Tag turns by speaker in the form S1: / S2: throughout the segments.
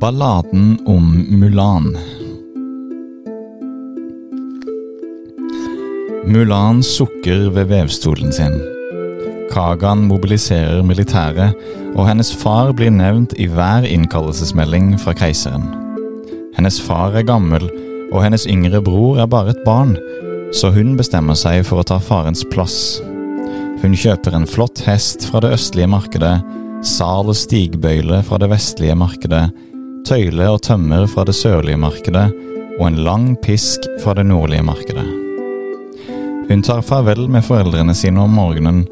S1: Balladen om Mulan. Mulan sukker ved vevstolen sin. Kagan mobiliserer militæret, og hennes far blir nevnt i hver innkallelsesmelding fra keiseren. Hennes far er gammel, og hennes yngre bror er bare et barn, så hun bestemmer seg for å ta farens plass. Hun kjøper en flott hest fra det østlige markedet, sal og stigbøyle fra det vestlige markedet, tøyle og tømmer fra det sørlige markedet og en lang pisk fra det nordlige markedet. Hun tar farvel med foreldrene sine om morgenen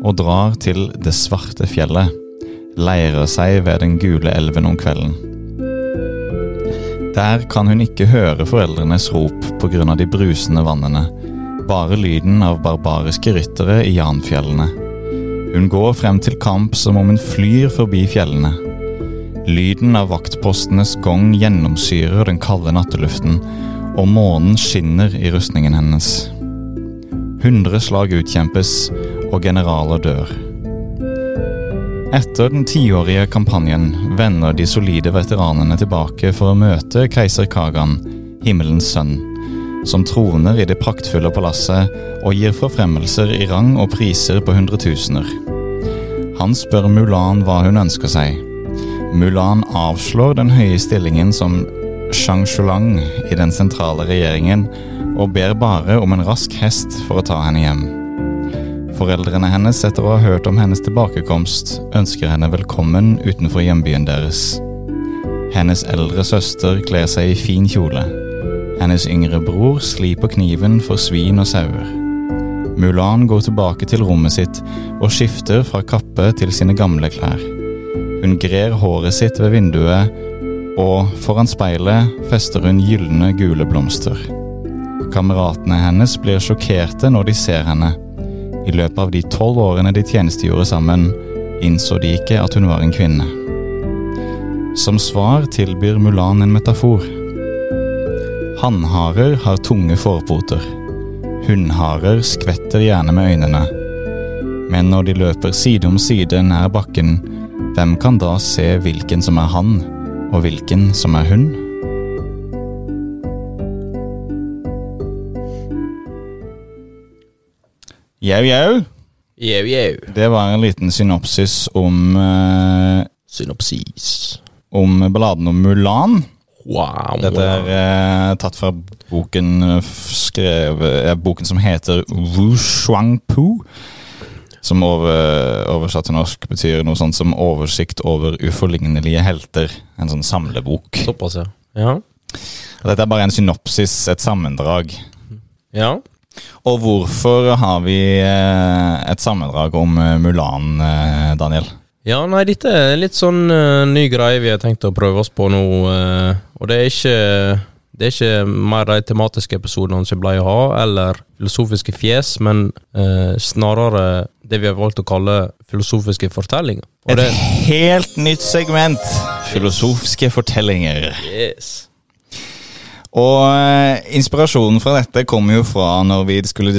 S1: og drar til Det svarte fjellet, leirer seg ved Den gule elven om kvelden. Der kan hun ikke høre foreldrenes rop pga. de brusende vannene, bare lyden av barbariske ryttere i Janfjellene. Hun går frem til kamp som om hun flyr forbi fjellene. Lyden av vaktpostenes gong gjennomsyrer den kalde natteluften, og månen skinner i rustningen hennes. Hundre slag utkjempes, og generaler dør. Etter den tiårige kampanjen vender de solide veteranene tilbake for å møte keiser Kagan, himmelens sønn, som troner i det praktfulle palasset og gir forfremmelser i rang og priser på hundretusener. Han spør Mulan hva hun ønsker seg. Mulan avslår den høye stillingen som Shang-Shulang i den sentrale regjeringen, og ber bare om en rask hest for å ta henne hjem. Foreldrene hennes, etter å ha hørt om hennes tilbakekomst, ønsker henne velkommen utenfor hjembyen deres. Hennes eldre søster kler seg i fin kjole. Hennes yngre bror sliper kniven for svin og sauer. Mulan går tilbake til rommet sitt og skifter fra kappe til sine gamle klær. Hun grer håret sitt ved vinduet, og foran speilet fester hun gylne, gule blomster. Kameratene hennes blir sjokkerte når de ser henne. I løpet av de tolv årene de tjenestegjorde sammen, innså de ikke at hun var en kvinne. Som svar tilbyr Mulan en metafor. Hannharer har tunge forpoter. Hunnharer skvetter gjerne med øynene. Men når de løper side om side nær bakken, hvem kan da se hvilken som er han, og hvilken som er hun? Jau, jau.
S2: Jau, jau.
S1: Det var en liten synopsis om, eh,
S2: Synopsis.
S1: om balladen om Mulan.
S2: Wow.
S1: Dette er eh, tatt fra boken, eh, f- skrevet- eh, boken som heter Wu Shuangpu. Som over, oversatt til norsk betyr noe sånt som 'oversikt over uforlignelige helter'. En sånn samlebok.
S2: Såpass, ja. Ja.
S1: Og Dette er bare en synopsis, et sammendrag.
S2: ja.
S1: Og hvorfor har vi eh, et sammendrag om eh, Mulan, eh, Daniel?
S2: Ja, nei, dette er litt sånn eh, ny greie vi har tenkt å prøve oss på nå. eh, og det er ikke Det er ikke mer de tematiske episodene som vi pleier å ha, eller filosofiske fjes, men eh, snarere det vi har valgt å kalle filosofiske fortellinger. Og
S1: Et
S2: det,
S1: helt nytt segment. Filosofiske fortellinger.
S2: yes.
S1: Og eh, inspirasjonen fra dette kom jo fra når vi skulle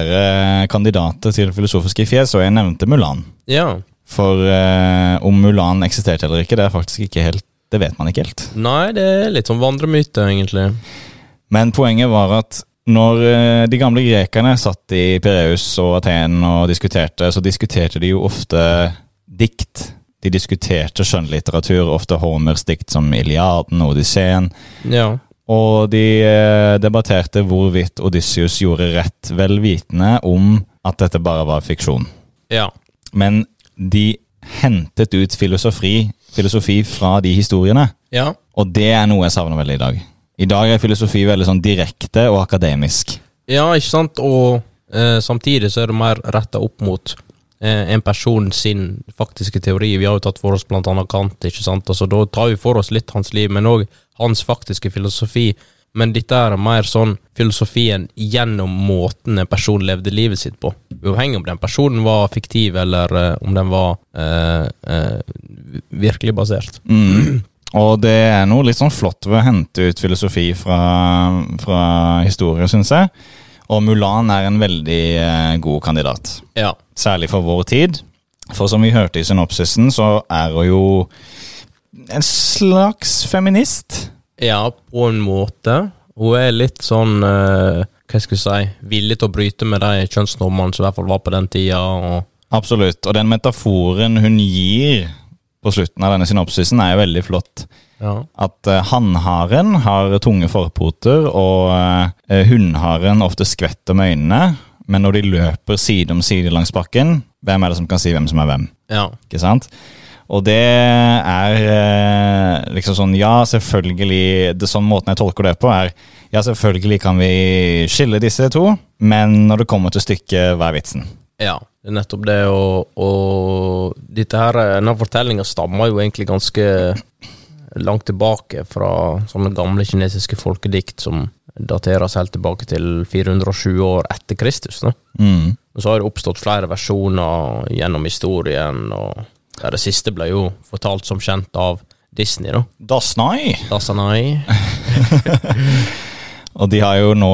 S1: diskutere kandidater til filosofiske fjes, og jeg nevnte Mulan.
S2: Ja.
S1: For eh, om Mulan eksisterte eller ikke, det er faktisk ikke helt Det vet man ikke helt.
S2: Nei, det er litt sånn vandremyte, egentlig.
S1: Men poenget var at når eh, de gamle grekerne satt i Pireus og Aten og diskuterte, så diskuterte de jo ofte dikt. De diskuterte skjønnlitteratur, ofte Homers dikt som Iliaden og Odysseen.
S2: Ja.
S1: Og de eh, debatterte hvorvidt Odysseus gjorde rett, vel vitende om at dette bare var fiksjon.
S2: Ja.
S1: Men de hentet ut filosofi, filosofi fra de historiene,
S2: Ja.
S1: og det er noe jeg savner veldig i dag. I dag er filosofi veldig sånn direkte og akademisk.
S2: Ja, ikke sant? Og eh, samtidig så er det mer retta opp mot eh, en person sin faktiske teori. Vi har jo tatt for oss blant annet Kant, ikke sant? Altså, da tar vi for oss litt hans liv, men òg hans faktiske filosofi. Men dette er mer sånn filosofien gjennom måten en person levde livet sitt på. Uavhengig om den personen var fiktiv, eller eh, om den var eh, eh, virkelig basert.
S1: Mm. Og det er noe litt sånn flott ved å hente ut filosofi fra, fra historie, syns jeg. Og Mulan er en veldig eh, god kandidat.
S2: Ja.
S1: særlig for vår tid. For som vi hørte i synopsisen, så er hun jo en slags feminist.
S2: Ja, på en måte. Hun er litt sånn eh, Hva skal jeg si Villig til å bryte med de kjønnsnormene som i hvert fall var på den tida. Og,
S1: Absolutt. Og den metaforen hun gir på slutten av denne synopsisen, er jo veldig flott.
S2: ja.
S1: At eh, hannharen har tunge forpoter, og eh, hunnharen ofte skvetter med øynene. Men når de løper side om side langs bakken, hvem er det som kan si hvem som er hvem?
S2: ja.
S1: Ikke sant? Og det er eh, liksom sånn Ja, selvfølgelig det Sånn måten jeg tolker det på, er Ja, selvfølgelig kan vi skille disse to, men når det kommer til stykket, hva er vitsen?
S2: Ja, det er nettopp det, og, og dette her, eh, denne fortellinga stammer jo egentlig ganske langt tilbake fra sånne gamle kinesiske folkedikt som dateres helt tilbake til 407 år etter Kristus. Da.
S1: Mm.
S2: Og så har det oppstått flere versjoner gjennom historien, og ja, det siste ble jo fortalt som kjent av Disney, da.
S1: Dasnai!
S2: Dasanai.
S1: Og de har jo nå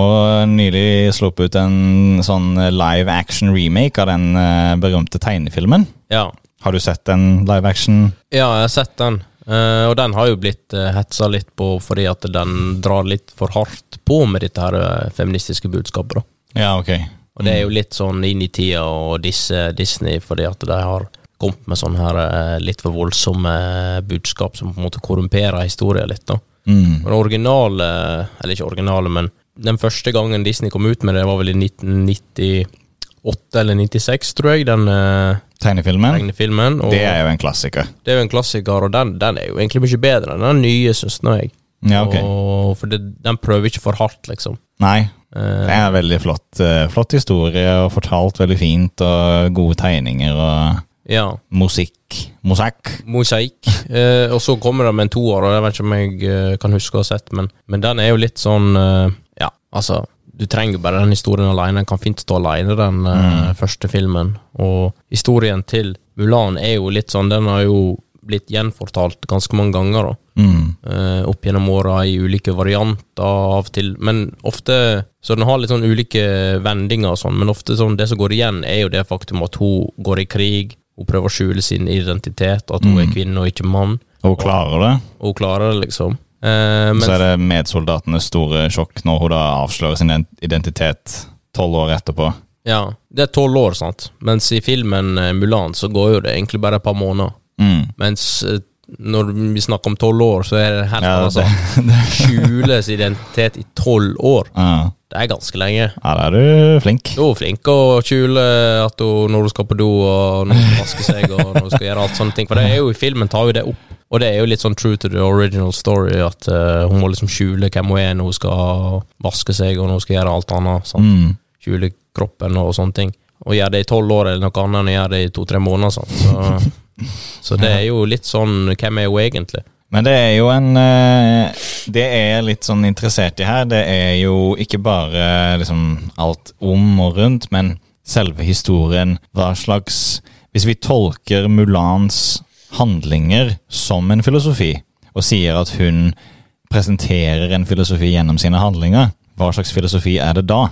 S1: nylig sluppet ut en sånn live action remake av den eh, berømte tegnefilmen.
S2: Ja.
S1: Har du sett den live action?
S2: Ja, jeg har sett den. Eh, og den har jo blitt eh, hetsa litt på fordi at den drar litt for hardt på med dette her eh, feministiske budskapet. da.
S1: Ja, ok.
S2: Og det er jo litt sånn inn i tida og disse Disney fordi at de har kommet med sånne her eh, litt for voldsomme budskap som på en måte korrumperer historien litt. da.
S1: Mm.
S2: Og Den originale, eh, eller ikke originale, men den første gangen Disney kom ut med det, var vel i 1998 eller 96, tror jeg, den eh,
S1: Tegnefilmen?
S2: tegnefilmen. Og
S1: Det er jo en klassiker.
S2: det er jo en klassiker, og den, den er jo egentlig mye bedre enn den nye, syns nå jeg.
S1: Ja, ok.
S2: og, for det, den prøver ikke for hardt, liksom.
S1: Nei,
S2: Eh,
S1: Det er en veldig flott, eh, flott historie, og fortalt veldig fint, og gode tegninger og
S2: ja.
S1: musikk. Mosaikk.
S2: Mosaikk. Eh, og så kommer det med en toer, og jeg vet ikke om jeg eh, kan huske å ha sett, men, men den er jo litt sånn eh, Ja, altså, du trenger bare den historien alene. Den kan fint stå alene, den eh, første filmen. Og historien til Mulan er jo litt sånn, den har jo blitt gjenfortalt ganske mange ganger, da.
S1: Mm.
S2: eh, opp gjennom åra i ulike varianter av og til, men ofte Så den har litt sånn ulike vendinger og sånn, men ofte sånn det som går igjen, er jo det faktum at hun går i krig, hun prøver å skjule sin identitet, at hun
S1: Mm.
S2: er kvinne og ikke mann,
S1: Og hun klarer det.
S2: og hun klarer det, liksom. Eh,
S1: Så
S2: men
S1: er det medsoldatenes store sjokk når hun da avslører sin identitet tolv år etterpå.
S2: ja, det er tolv år, sant, mens i filmen eh, Mulan så går jo det egentlig bare et par måneder,
S1: Mm.
S2: mens eh, når vi snakker om tolv år, så er det helt
S1: Ja,
S2: annet,
S1: det,
S2: altså.
S1: det,
S2: Skjules identitet i tolv år.
S1: ja.
S2: Det er ganske lenge.
S1: ja, da er du flink.
S2: Du er flink å skjule at hun, når du skal på do, og når du skal vaske seg, og når du skal gjøre alt sånne ting. For det er jo i filmen tar jo det opp. Og det er jo litt sånn true to the original story, at eh, hun må liksom skjule hvem hun er når hun skal vaske seg, og når hun skal gjøre alt annet. Sant?
S1: Mm.
S2: Skjule kroppen og sånne ting. Og gjøre det i tolv år eller noe annet enn å gjøre det i to-tre måneder. Sant? Så, så det er jo litt sånn Hvem er hun egentlig?
S1: Men det er jo en eh, Det er jeg litt sånn interessert i her. Det er jo ikke bare liksom alt om og rundt, men selve historien. Hva slags Hvis vi tolker Mulans handlinger som en filosofi, og sier at hun presenterer en filosofi gjennom sine handlinger, hva slags filosofi er det da?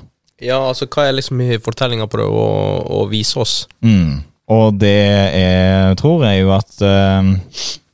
S2: Ja, altså, hva er liksom fortellinga prøver å, å vise oss?
S1: Mm. Og det jeg tror, er jo at eh,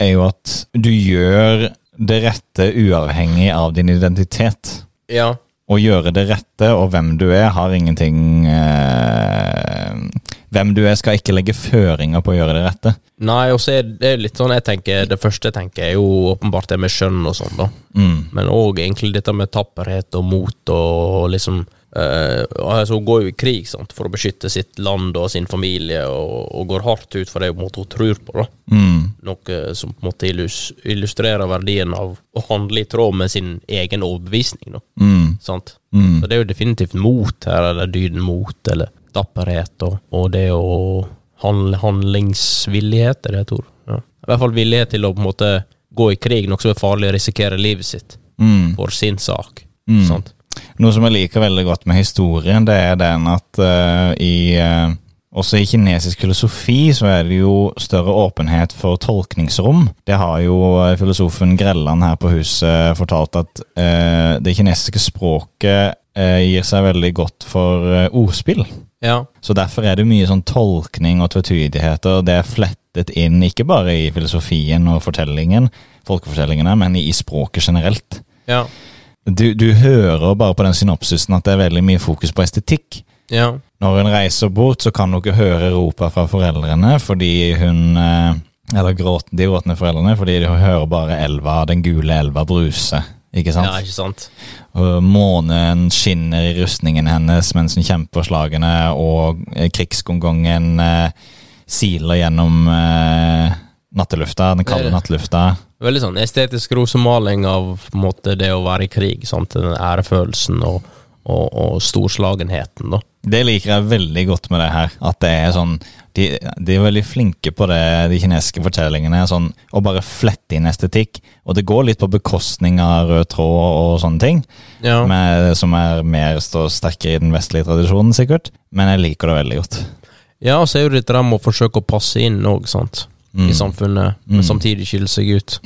S1: Er jo at du gjør det rette uavhengig av din identitet.
S2: Ja.
S1: Å gjøre det rette og hvem du er, har ingenting eh, Hvem du er, skal ikke legge føringer på å gjøre det rette.
S2: Nei, og så er det litt sånn jeg tenker Det første jeg tenker, er jo åpenbart det med skjønn og sånn, da.
S1: Mm.
S2: Men òg egentlig dette med tapperhet og mot og liksom eh, altså Hun går jo i krig sant, for å beskytte sitt land og sin familie, og, og går hardt ut for det på en måte hun tror på. da
S1: Mm.
S2: Noe eh, som på en måte illus illustrerer verdien av å handle i tråd med sin egen overbevisning. da
S1: Mm.
S2: sant?
S1: Mm.
S2: Så det er jo definitivt mot her, eller dyden mot, eller tapperhet, og, og det å handle, Handlingsvillighet, er det et ord? Ja. I hvert fall villighet til å på en måte gå i krig, noe som er farlig, og risikere livet sitt
S1: Mm.
S2: for sin sak.
S1: Mm.
S2: Sant?
S1: Noe som jeg liker veldig godt med historien, det er den at eh, i eh, Også i kinesisk filosofi så er det jo større åpenhet for tolkningsrom. Det har jo eh, filosofen Grelland her på huset fortalt at eh, det kinesiske språket eh, gir seg veldig godt for eh, ordspill.
S2: Ja.
S1: Så derfor er det mye sånn tolkning og tvetydigheter. og Det er flettet inn ikke bare i filosofien og fortellingen, folkefortellingene, men i språket generelt.
S2: Ja.
S1: Du, du hører bare på den synopsisen at det er veldig mye fokus på estetikk.
S2: Ja.
S1: Når hun reiser bort, så kan hun ikke høre ropa fra foreldrene, fordi hun eh, Eller gråt, de gråtende foreldrene, fordi hun hører bare elva, den gule elva bruse. Ikke sant?
S2: ja, ikke sant?
S1: Og Månen skinner i rustningen hennes mens hun kjemper slagene, og eh, krigsgongongen eh, siler gjennom eh, nattelufta, den
S2: Det er
S1: kalde
S2: det.
S1: nattelufta.
S2: Veldig sånn estetisk rosemaling av på en måte, det å være i krig. Sant? Den ærefølelsen og, og, og storslagenheten, da.
S1: Det liker jeg veldig godt med det her. At det er sånn De, de er veldig flinke på det, de kinesiske fortellingene. Sånn, å bare flette inn estetikk. Og det går litt på bekostning av rød tråd og sånne ting.
S2: Ja.
S1: Med, som er mer står sterkere i den vestlige tradisjonen, sikkert. Men jeg liker det veldig godt.
S2: ja, og så er jo dette der med å forsøke å passe inn òg, sant.
S1: Mm.
S2: I samfunnet,
S1: Mm.
S2: men samtidig skille seg ut.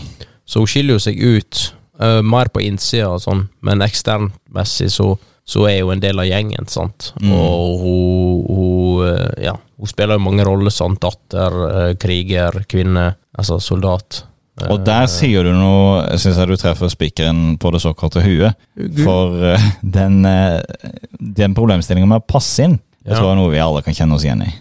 S2: Så hun skiller jo seg ut, eh, mer på innsida og sånn, men eksternmessig så, så er hun en del av gjengen, sant.
S1: Mm.
S2: Og hun, hun eh, Ja, hun spiller jo mange roller, sant. Datter, eh, kriger, kvinne, altså soldat. Eh,
S1: Og der sier du noe Syns jeg du treffer spikeren på det såkalte huet. For eh, den, eh, den problemstillinga med å passe inn, det
S2: Ja.
S1: tror jeg er noe vi alle kan kjenne oss igjen i.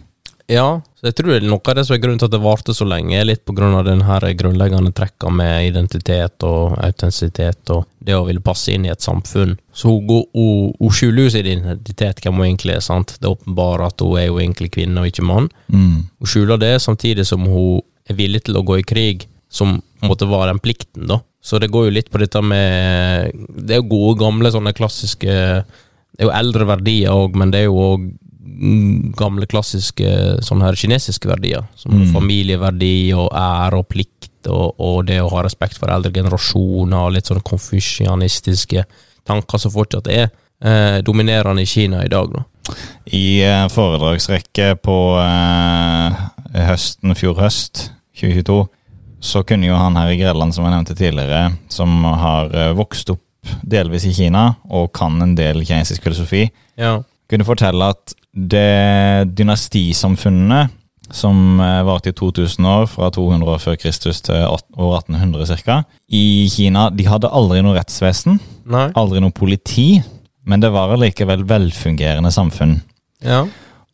S2: Ja, så jeg tror det er noe av det som er grunnen til at det varte så lenge, er litt på grunn av den her grunnleggende trekka med identitet og autentisitet og det å ville passe inn i et samfunn. Så hun, går, hun, hun skjuler jo sin identitet, hvem hun egentlig er, sant. Det er åpenbart at hun er jo egentlig kvinne og ikke mann.
S1: Mm.
S2: Hun skjuler det, samtidig som hun er villig til å gå i krig, som på en måte var den plikten, da. Så det går jo litt på dette med Det er jo gode, gamle sånne klassiske Det er jo eldre verdier òg, men det er jo òg gamle, klassiske sånne her kinesiske verdier. Som
S1: Mm.
S2: familieverdi og ære og plikt og, og det å ha respekt for eldre generasjoner og litt sånne konfusianistiske tanker som fortsatt er eh, dominerende i Kina i dag, da.
S1: I eh, foredragsrekke på eh, høsten fjor høst 2022, så kunne jo han her i Grenland, som jeg nevnte tidligere, som har eh, vokst opp delvis i Kina og kan en del kinesisk filosofi,
S2: Ja.
S1: kunne fortelle at det dynastisamfunnene som eh, varte i 2000 år, fra 200 år før Kristus til åt- år 1800 ca., i Kina, de hadde aldri noe rettsvesen,
S2: Nei?
S1: aldri noe politi, men det var allikevel velfungerende samfunn.
S2: Ja.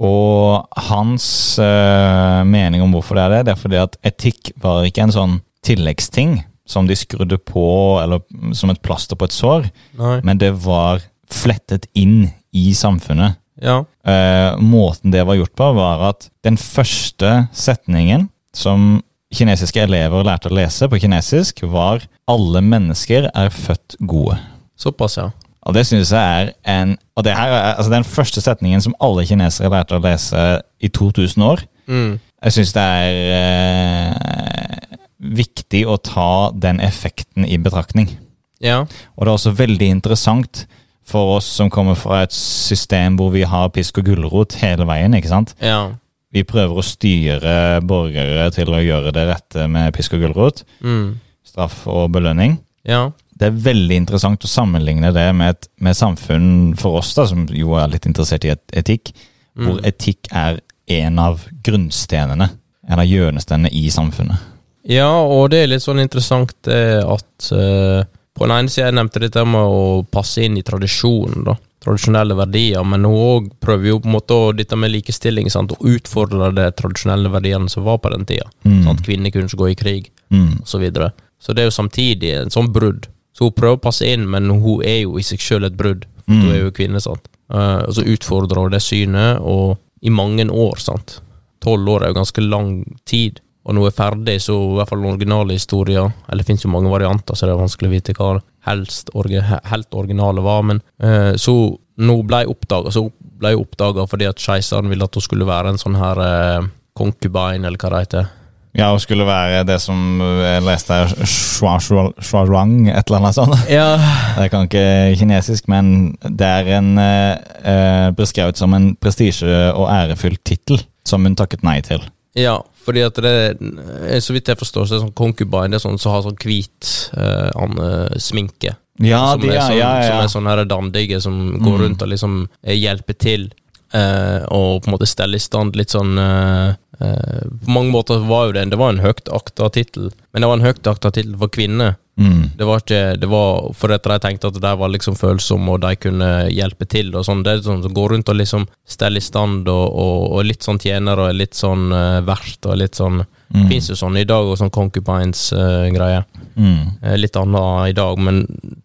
S1: Og hans eh, mening om hvorfor det er det, det er fordi at etikk var ikke en sånn tilleggsting som de skrudde på eller som et plaster på et sår,
S2: Nei.
S1: men det var flettet inn i samfunnet.
S2: Ja.
S1: Eh, måten det var gjort på, var at den første setningen som kinesiske elever lærte å lese på kinesisk, var 'alle mennesker er født gode'.
S2: Såpass, ja.
S1: Og det synes jeg er en Og det her er altså den første setningen som alle kinesere lærte å lese i 2000 år.
S2: Mm.
S1: Jeg synes det er eh, viktig å ta den effekten i betraktning.
S2: Ja.
S1: Og det er også veldig interessant for oss som kommer fra et system hvor vi har pisk og gulrot hele veien. ikke sant?
S2: ja.
S1: Vi prøver å styre borgere til å gjøre det rette med pisk og gulrot.
S2: Mm.
S1: Straff og belønning.
S2: ja.
S1: det er veldig interessant å sammenligne det med et med samfunn for oss, da, som jo er litt interessert i et- etikk, hvor etikk er en av grunnstenene, en av hjørnestenene i samfunnet.
S2: Ja, og det er litt sånn interessant det at eh, På den ene siden jeg nevnte dette med å passe inn i tradisjonen, da. Tradisjonelle verdier, men hun òg prøver jo på en måte å- dette med likestilling, sant, å utfordre de tradisjonelle verdiene som var på den tida.
S1: Mm.
S2: Sånn at kvinner kunne ikke gå i krig,
S1: Mm.
S2: osv. Så, videre. så det er jo samtidig en sånn brudd. Så hun prøver å passe inn, men hun er jo i seg sjøl et brudd. For
S1: Mm.
S2: Hun er jo kvinne, sant. Eh, og så utfordrer hun det synet, og i mange år, sant. Tolv år er jo ganske lang tid. Og når hun er ferdig, så i hvert fall den originale historien Eller det finnes jo mange varianter, så det er vanskelig å vite hva helst orgi- helt originale var, men eh, så når hun ble oppdaga, så ble hun oppdaga fordi at keiseren ville at hun skulle være en sånn her eh, konkubain, eller hva det heter.
S1: Ja, og skulle være det som eh, jeg leste her, shua, shua, shuarang, et eller annet sånt.
S2: Ja.
S1: Jeg kan ikke kinesisk, men det er en eh, eh, beskrevet som en prestisje- og ærefylt tittel. som hun takket nei til.
S2: Ja, fordi at det er, så vidt jeg forstår, så er det sånn konkubine sånn, som har sånn hvit eh, an, eh, sminke.
S1: Ja,
S2: som,
S1: de,
S2: er
S1: Ah, ja,
S2: sånn,
S1: ja, Mm. ja.
S2: som er sånn her dandige som går rundt og liksom eh, hjelper til eh, og på en måte steller i stand litt sånn eh, eh, På mange måter var jo det, det var en høytakta tittel, men det var en høytakta tittel for kvinner.
S1: Mm.
S2: Det var ikke, det var for at de tenkte at de var liksom følsomme, og de kunne hjelpe til. og sånn, Det er sånn som går rundt og liksom steller i stand, og, og, og litt sånn tjener, og er litt sånn eh, vert, og litt sånn
S1: Mm.
S2: Fins jo sånn i dag, og sånn concubines-greie.
S1: Mm.
S2: Eh, Litt annet i dag, men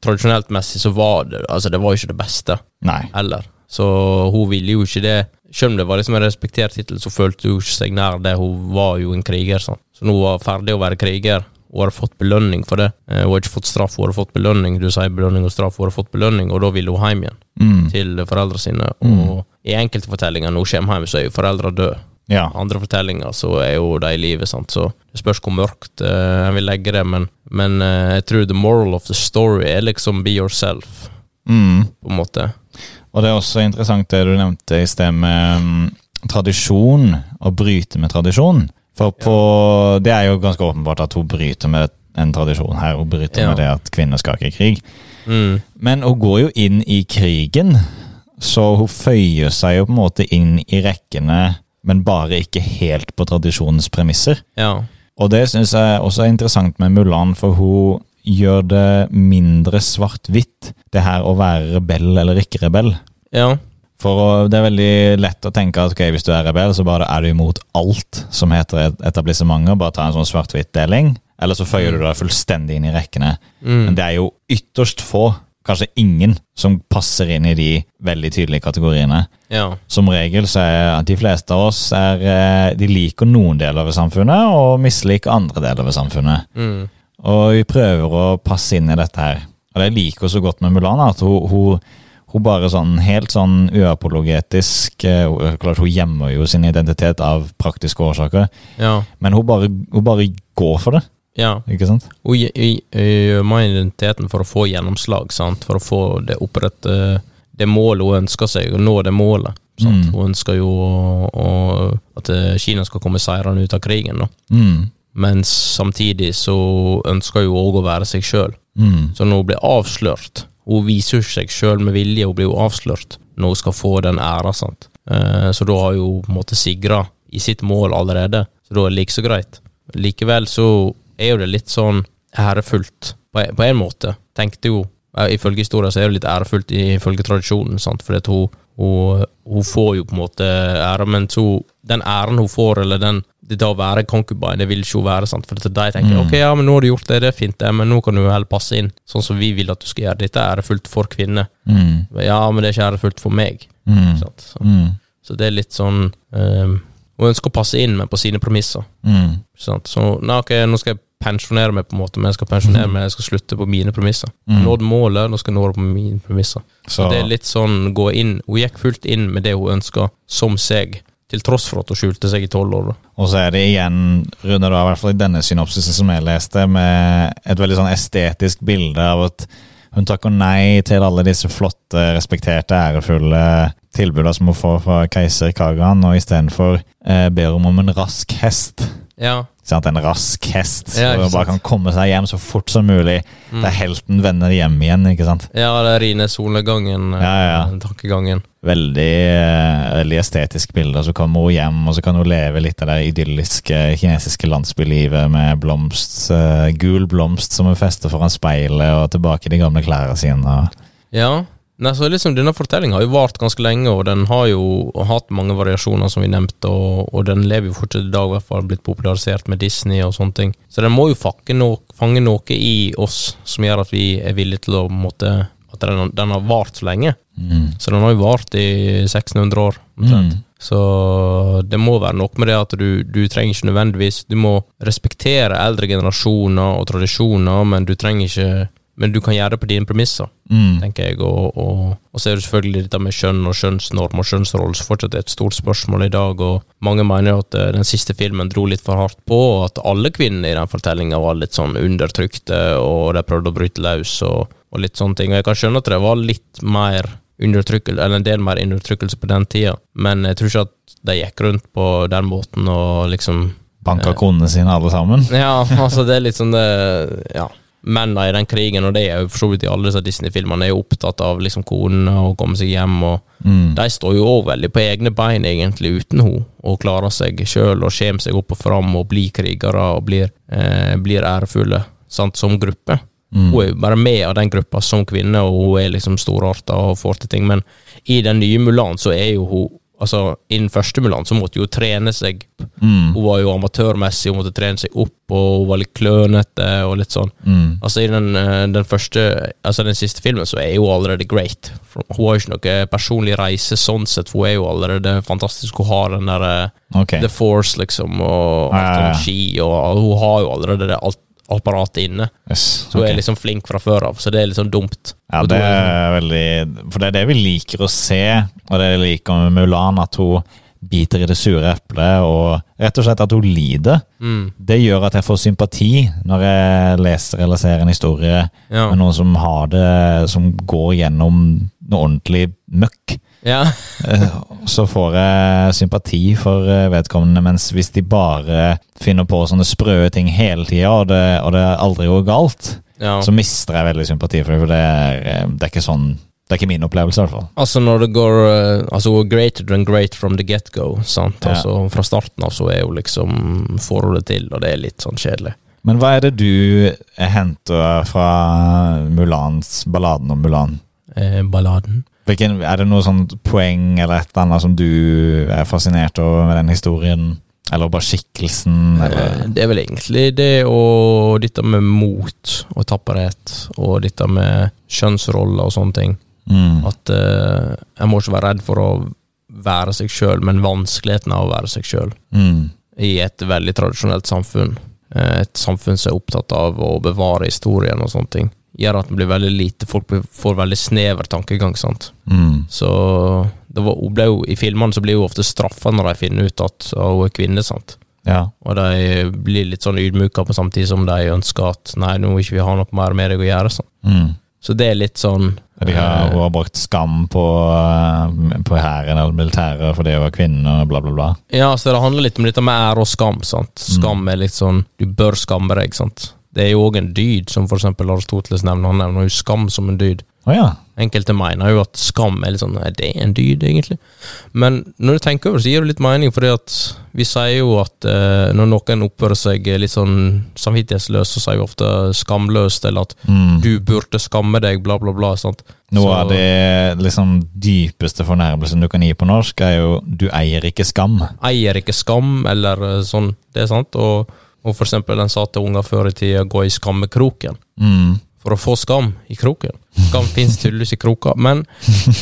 S2: tradisjonelt messig så var det altså det var jo ikke det beste
S1: Nei.
S2: heller. Så hun ville jo ikke det. Selv om det var liksom en respektert tittel, så følte hun ikke seg nær det. Hun var jo en kriger, sant. Så nå var hun ferdig å være kriger. Hun hadde fått belønning for det. Eh, Hun hadde ikke fått straff, hun hadde fått belønning. Du sier belønning og straff, hun hadde fått belønning, og da ville hun hjem igjen
S1: Mm.
S2: til foreldrene sine. Og i enkelte fortellinger når hun kommer hjem, så er jo foreldrene døde
S1: Ja.
S2: andre fortellinger så er jo de i livet, sant? så det spørs hvor mørkt eh, en vil legge det, men, men eh, jeg tror the moral of the story er liksom be yourself,
S1: Mm.
S2: på en måte.
S1: Og det er også interessant det du nevnte i sted med mm, tradisjon, å bryte med tradisjon. For på, det er jo ganske åpenbart at hun bryter med en tradisjon her. Hun bryter
S2: Ja.
S1: med det at kvinner skal ikke i krig.
S2: Mm.
S1: Men hun går jo inn i krigen, så hun føyer seg jo på en måte inn i rekkene, men bare ikke helt på tradisjonens premisser.
S2: Ja.
S1: Og det syns jeg også er interessant med Mulan, for hun gjør det mindre svart-hvitt, det her å være rebell eller ikke rebell.
S2: ja.
S1: For å, det er veldig lett å tenke at ok, hvis du er rebell, så bare er du imot alt som heter et- etablissementer, bare ta en sånn svart-hvitt-deling. Eller så føyer du deg fullstendig inn i rekkene. Men
S2: Mm.
S1: det er jo ytterst få, kanskje ingen, som passer inn i de veldig tydelige kategoriene.
S2: ja.
S1: Som regel så er de fleste av oss er, eh, de liker noen deler ved samfunnet, og misliker andre deler ved samfunnet.
S2: Mm.
S1: Og vi prøver å passe inn i dette her. Og det jeg liker så godt med Mulan, er at hun, hun, hun bare sånn helt sånn uapologetisk eh, hun- Klart hun gjemmer jo sin identitet av praktiske årsaker,
S2: Ja.
S1: men hun bare, hun bare går for det,
S2: Ja.
S1: ikke sant?
S2: Og i- i- i- gjemmer identiteten for å få gjennomslag, sant? for å få det opprette det målet hun ønsker seg, og nå det målet. Sant?
S1: Mm.
S2: Hun ønsker jo å, å, at eh, Kina skal komme seirende ut av krigen, da.
S1: Mm.
S2: men samtidig så ønsker hun òg å være seg sjøl.
S1: Mm.
S2: Så når hun blir avslørt Hun viser jo ikke seg sjøl med vilje, hun blir jo avslørt når hun skal få den æra. sant? Eh, Så da har hun på en måte sigra i sitt mål allerede, så da er det like så greit. Likevel så er jo det litt sånn ærefullt, på en- på en måte, tenkte hun. Eh, Ifølge historien så er det litt ærefullt ifølge tradisjonen, sant? fordi at hun, hun, hun får jo på en måte ære, men så den æren hun får, eller den det da å være concubine, det vil ikke hun være, sant? for at de tenker ok, ja, men nå har du gjort det, det er fint, det, men nå kan du jo heller passe inn, sånn som vi vil at du skal gjøre. Dette er ærefullt for kvinner.
S1: Mm.
S2: Ja, men det er ikke ærefullt for meg.
S1: Mm.
S2: Sant? Så,
S1: Mm.
S2: så det er litt sånn eh, Hun ønsker å passe inn, men på sine premisser.
S1: Mm.
S2: Sant? Så nei, ok, nå skal jeg pensjonere meg, på en måte, men jeg skal
S1: Mhm.
S2: pensjonere meg, jeg skal slutte på mine premisser.
S1: Mm.
S2: Nådd målet, nå skal jeg nå det på mine premisser.
S1: Så
S2: Det er litt sånn gå inn Hun gikk fullt inn med det hun ønska, som seg, til tross for at hun skjulte seg i tolv år. da.
S1: Og så er det igjen, runder du av i hvert fall i denne synopsisen som jeg leste, med et veldig sånn estetisk bilde av at hun takker nei til alle disse flotte, respekterte, ærefulle tilbudene som hun får fra keiser Kagan, og istedenfor eh, ber hun om en rask hest. Ikke
S2: Ja.
S1: Sant? En rask hest, så
S2: Ja, ikke
S1: hun bare
S2: sant.
S1: kan komme seg hjem så fort som mulig.
S2: Mm.
S1: Der helten vender hjem igjen, ikke sant.
S2: ja, det er Rine Solnedgangen, eh,
S1: Ja, ja, ja.
S2: den tankegangen.
S1: Veldig, eh, veldig estetisk bilde. Og så kommer hun hjem, og så kan hun leve litt av det idylliske kinesiske landsbylivet med blomst, eh, gul blomst som hun fester foran speilet, og tilbake i de gamle klærne sine. Og,
S2: Ja. Nei, så liksom Denne fortellinga har jo vart ganske lenge, og den har jo hatt mange variasjoner, som vi nevnte, og, og den lever jo fortsatt i dag, i hvert fall blitt popularisert med Disney og sånne ting. Så den må jo fakke no fange noe i oss som gjør at vi er villige til å på en måte, At den, den har vart så lenge.
S1: mm.
S2: Så den har jo vart i 1600 år, omtrent.
S1: Mm.
S2: Så det må være noe med det at du, du trenger ikke nødvendigvis Du må respektere eldre generasjoner og tradisjoner, men du trenger ikke Men du kan gjøre det på dine premisser
S1: Mm.
S2: tenker jeg. Og, og, og så er det selvfølgelig dette med kjønn og kjønnsnorm og kjønnsrolle som fortsatt er et stort spørsmål i dag. Og mange mener jo at eh, den siste filmen dro litt for hardt på, og at alle kvinnene i den fortellinga var litt sånn undertrykte, og de prøvde å bryte løs og, og litt sånne ting. Og jeg kan skjønne at det var litt mer undertrykkelse, eller en del mer undertrykkelse på den tida, men jeg tror ikke at de gikk rundt på den måten og liksom
S1: Banka konene sine alle sammen.
S2: Ja, altså det er litt sånn det Ja. Mennene i den krigen, og det er jo for så vidt i alle disse Disney-filmene, er jo opptatt av liksom konene og komme seg hjem, og
S1: Mm.
S2: de står jo òg veldig på egne bein, egentlig, uten henne, og klarer seg sjøl og kommer seg opp og fram og blir krigere og blir, eh, blir ærefulle, sant, som gruppe.
S1: Mm.
S2: Hun er jo bare med av den gruppa som kvinne, og hun er liksom storarta og får til ting, men i den nye Mulan så er jo hun Altså, innen første Mulan så måtte hun jo trene seg.
S1: Mm.
S2: Hun var jo amatørmessig, hun måtte trene seg opp, og hun var litt klønete og litt sånn.
S1: Mm.
S2: Altså, i den, eh, den første Altså, den siste filmen så er hun allerede great. For Hun har jo ikke noe personlig reise sånn sett, for hun er jo allerede fantastisk. Hun har den derre
S1: Ok.
S2: The Force, liksom, og
S1: Ja, ja, ja.
S2: autologi, og hun har jo allerede det alt apparatet inne.
S1: Yes.
S2: Så hun
S1: Ok.
S2: er liksom flink fra før av, så det er litt sånn dumt.
S1: Ja,
S2: Og
S1: det
S2: da er
S1: er veldig For det er det vi liker å se, og det jeg liker med Mulan, at hun biter i det sure eplet, og rett og slett at hun lider.
S2: Mm,
S1: Det gjør at jeg får sympati når jeg leser eller ser en historie
S2: ja.
S1: med noen som har det, som går gjennom noe ordentlig møkk.
S2: ja.
S1: Eh, Så får jeg sympati for eh, vedkommende, mens hvis de bare finner på sånne sprø ting hele tida, og, det- og det aldri går galt,
S2: ja.
S1: så mister jeg veldig sympati for det, for det er, eh, det er ikke sånn Det er ikke min opplevelse, i hvert fall.
S2: Altså når det går eh, Altså hun er greater than great from the get-go. sant?
S1: Ja.
S2: Altså Fra starten av så er hun liksom forholdet til, og det er litt sånn kjedelig.
S1: Men hva er det du henter fra Mulans balladen om Mulan?
S2: Eh, balladen.
S1: Hvilken, er det noe sånt poeng eller et eller annet som du er fascinert over med den historien? Eller bare skikkelsen? Eller?
S2: Eh, det er vel egentlig det og dette med mot og tapperhet, og dette med kjønnsroller og sånne ting.
S1: Mm.
S2: At eh, en må ikke være redd for å være seg sjøl, men vanskeligheten av å være seg sjøl.
S1: Mm.
S2: i et veldig tradisjonelt samfunn. Eh, Et samfunn som er opptatt av å bevare historien og sånne ting. Gjør at det blir veldig lite, folk blir- får veldig snever tankegang. sant?
S1: Mm.
S2: Så det var, hun ble jo, I filmene så blir hun ofte straffa når de finner ut at hun er kvinne. sant?
S1: Ja.
S2: Og de blir litt sånn ydmyka på samtidig som de ønsker at nei, nå vil ikke vi ha noe mer med deg å gjøre. sant?
S1: Mm.
S2: Så det er litt sånn
S1: De har, hun har brukt skam på, eh, på hæren eller militæret fordi hun var kvinne og bla, bla, bla.
S2: Ja, så det handler litt om dette med ære og skam. sant? Skam er litt sånn Du bør skamme deg. sant? Det er jo òg en dyd, som for eksempel Aristoteles nevner. Han nevner jo skam som en dyd.
S1: Å ja.
S2: Enkelte mener jo at skam er litt sånn Er det en dyd, egentlig? Men når du tenker over det, så gir det litt mening, fordi at vi sier jo at eh, når noen oppfører seg litt sånn samvittighetsløst, så sier vi ofte skamløst, eller at
S1: Mm.
S2: du burde skamme deg, bla, bla, bla. sant?
S1: Noe
S2: Så-
S1: av det liksom, dypeste fornærmelsen du kan gi på norsk, er jo 'du eier ikke skam'.
S2: eier ikke skam, eller eh, sånn. Det er sant. Og, og for eksempel, en sa til unger før i tida gå i skammekroken
S1: Mm.
S2: for å få skam i kroken. Skam fins tydeligvis i kroka, men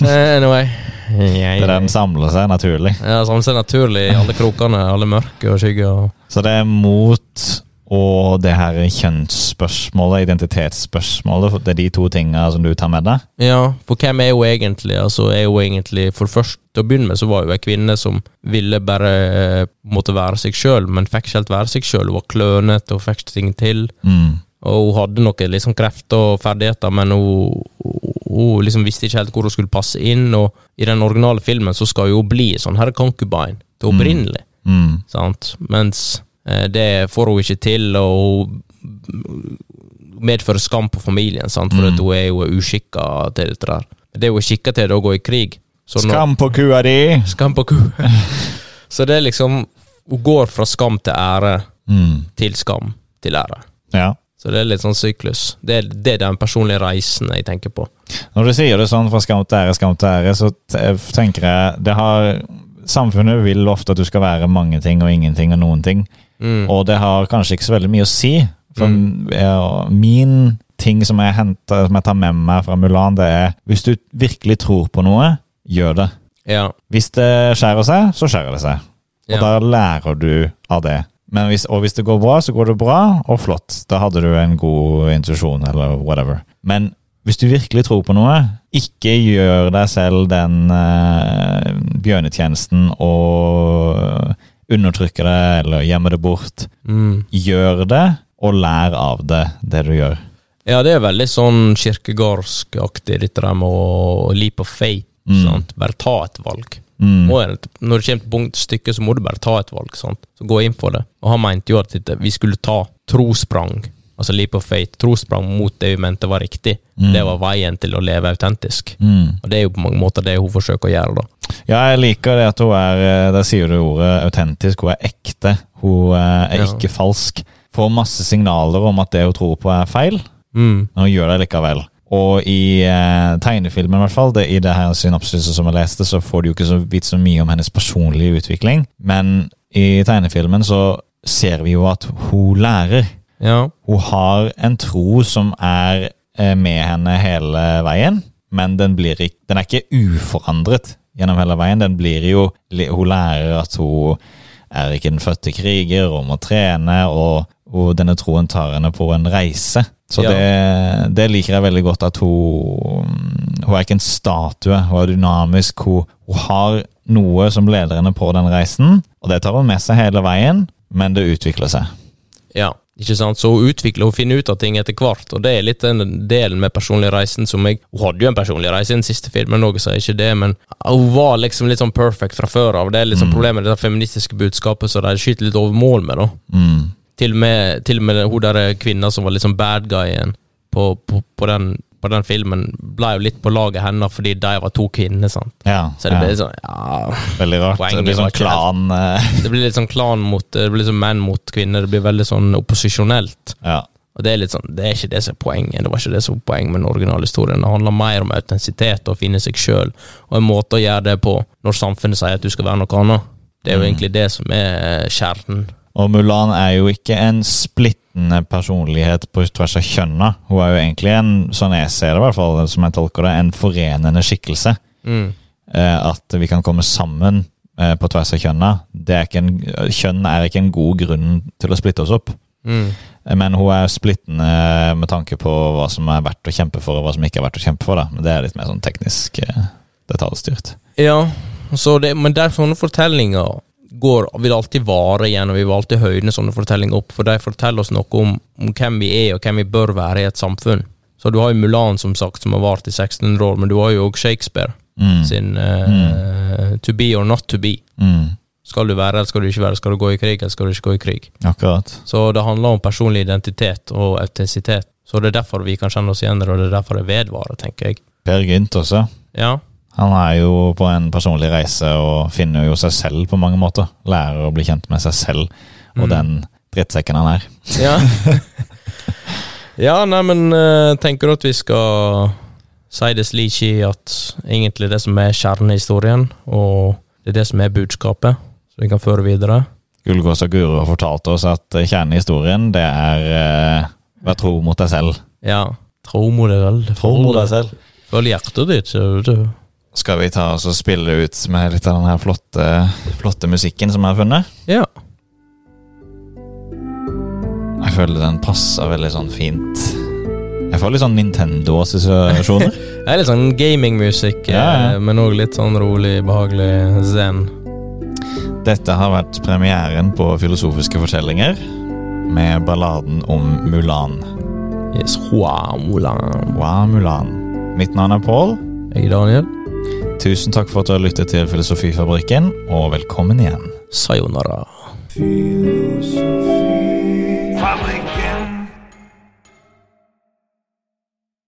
S2: eh, anyway.
S1: Det er der den samler seg naturlig.
S2: Ja, sånn som det er naturlig i alle krokene, alle mørke og skygger. og-
S1: Så det er mot og det her kjønnsspørsmålet, identitetsspørsmålet, for det er de to tinga som du tar med deg?
S2: Ja, for hvem er hun egentlig? Altså, er hun egentlig For først til å begynne med så var hun ei kvinne som ville bare eh, måtte være seg sjøl, men fikk ikke helt være seg sjøl. Hun var klønete og fikk ikke ting til.
S1: Mm.
S2: Og hun hadde noen liksom krefter og ferdigheter, men hun, hun, hun liksom visste ikke helt hvor hun skulle passe inn. Og i den originale filmen så skal jo hun bli sånn her concubine til opprinnelig,
S1: Mm.
S2: sant? mens eh, det får hun ikke til, og hun medfører skam på familien, sant? for at hun er jo uskikka til dette der. Det er jo skikka til det å gå i krig. Så når-
S1: Skam på kua di!
S2: skam på ku. så det er liksom Hun går fra skam til ære
S1: Mm.
S2: til skam til ære.
S1: Ja.
S2: Så det er litt sånn syklus. Det er, det er den personlige reisen jeg tenker på.
S1: Når du sier det sånn fra skam til ære, skam til ære, så t- tenker jeg det har Samfunnet vil ofte at du skal være mange ting og ingenting og noen ting.
S2: Mm.
S1: Og det har kanskje ikke så veldig mye å si. For ja, min ting som jeg, henter, som jeg tar med meg fra Mulan, det er hvis du virkelig tror på noe, gjør det.
S2: Ja.
S1: Hvis det skjærer seg, så skjærer det seg. Og
S2: Ja.
S1: da lærer du av det. Men hvis, og hvis det går bra, så går det bra, og flott. Da hadde du en god intuisjon, eller whatever. Men hvis du virkelig tror på noe, ikke gjør deg selv den eh, bjørnetjenesten og undertrykke det, eller gjemme det bort
S2: Mm.
S1: gjør det, og lær av det, det du gjør.
S2: Ja, det er veldig sånn kirkegårdskaktig, dette der med å leap of faith.
S1: Mm.
S2: Sant? Bare ta et valg.
S1: Mm.
S2: Må en- når det kommer til punkt stykket, så må du bare ta et valg. Sant? Så gå inn for det. Og han mente jo at dette- vi skulle ta trosprang, altså leap of faith, trosprang mot det vi mente var riktig.
S1: Mm.
S2: Det var veien til å leve autentisk.
S1: Mm.
S2: Og det er jo på mange måter det hun forsøker å gjøre, da.
S1: Ja, jeg liker det at hun er eh, Der sier du ordet autentisk. Hun er ekte. Hun eh, er
S2: Ja.
S1: ikke falsk. Får masse signaler om at det hun tror på, er feil,
S2: Mm.
S1: men hun gjør det likevel. Og i eh, tegnefilmen, i hvert fall, det, i det her synopsiset som jeg leste, så får du jo ikke så vidt så mye om hennes personlige utvikling, men i tegnefilmen så ser vi jo at hun lærer.
S2: Ja.
S1: Hun har en tro som er eh, med henne hele veien, men den, blir ikke, den er ikke uforandret gjennom hele veien. Den blir jo, li- hun lærer at hun er ikke den fødte kriger, hun må trene, og, og denne troen tar henne på en reise. Så
S2: Ja.
S1: det, det liker jeg veldig godt at hun Hun er ikke en statue, hun er dynamisk. Hun, hun har noe som leder henne på den reisen, og det tar hun med seg hele veien, men det utvikler seg.
S2: Ja, ikke sant? Så hun utvikler, hun finner ut av ting etter hvert, og det er litt den delen med personlig reisen som jeg Hun hadde jo en personlig reise i den siste filmen, noe sier ikke det, men hun var liksom litt sånn perfect fra før av. Det er liksom problemet med det der feministiske budskapet som de skyter litt over mål med, da.
S1: Mm.
S2: Til og med, til og med hun der kvinna som var liksom bad guyen på, på, på, den, på den filmen, ble jo litt på laget hennes fordi de var to kvinner, sant.
S1: Ja,
S2: Så det
S1: ja.
S2: blir sånn Ja.
S1: Veldig rart.
S2: Poenget
S1: det blir
S2: var
S1: sånn
S2: ikke
S1: klan eh,
S2: Det blir litt sånn klan mot Det blir liksom menn mot kvinner. Det blir veldig sånn opposisjonelt.
S1: Ja.
S2: Og det er litt sånn, det er ikke det som er poenget. Det var ikke det som var poenget med den originale historien. Det handler mer om autentisitet og å finne seg sjøl, og en måte å gjøre det på når samfunnet sier at du skal være noe annet. Det er jo egentlig det som er eh, kjernen.
S1: Og Mulan er jo ikke en splittende personlighet på tvers av kjønna. Hun er jo egentlig en, sånn jeg ser det i hvert fall, som jeg tolker det, en forenende skikkelse.
S2: Mm.
S1: Eh, at vi kan komme sammen eh, på tvers av kjønna. Det er ikke en, kjønn er ikke en god grunn til å splitte oss opp.
S2: Mm.
S1: Eh, Men hun er splittende med tanke på hva som er verdt å kjempe for, og hva som ikke er verdt å kjempe for. Da. Men det er litt mer sånn teknisk eh, detaljstyrt.
S2: Ja, så det, men der sånne fortellinger går, vil alltid vare igjen, og vi vil alltid høyne sånne fortellinger opp, for de forteller oss noe om, om hvem vi er, og hvem vi bør være i et samfunn. Så du har jo Mulan, som sagt, som har vart i 1600 år, men du har jo òg Shakespeare
S1: Mm.
S2: sin eh, To be or not to be.
S1: Mm.
S2: Skal du være, eller skal du ikke være? Skal du gå i krig, eller skal du ikke gå i krig?
S1: Akkurat.
S2: Så det handler om personlig identitet og autentisitet. Så det er derfor vi kan kjenne oss igjen, og det er derfor det vedvarer, tenker jeg.
S1: Per Gynt også.
S2: Ja,
S1: Han er jo på en personlig reise og finner jo seg selv på mange måter. Lærer å bli kjent med seg selv og
S2: Mm.
S1: den drittsekken han er.
S2: ja. ja nei, men eh, tenker du at vi skal si det slik i at egentlig det som er kjernehistorien, og det er det som er budskapet, som vi kan føre videre?
S1: Gullgås og Guro har fortalt oss at eh, kjernen i historien, det er eh, vær tro mot deg selv.
S2: Ja. Tro mot deg selv.
S1: selv.
S2: Følg hjertet ditt. sier du.
S1: Skal vi ta oss og spille ut med litt av den her flotte, flotte musikken som jeg har funnet?
S2: Ja.
S1: Jeg føler den passer veldig sånn fint. Jeg får litt sånn Nintendo-assosiasjoner.
S2: Det er litt sånn gamingmusikk, eh,
S1: Ja, ja.
S2: men òg litt sånn rolig, behagelig zen.
S1: Dette har vært premieren på Filosofiske fortellinger med balladen om Mulan.
S2: Yes, wow, Mulan.
S1: Wow, Mulan. Mitt navn er Pål.
S2: Jeg er Daniel.
S1: Tusen takk for at du har lyttet til Filosofifabrikken, og velkommen igjen.
S2: Sayonara.
S3: Philosophia.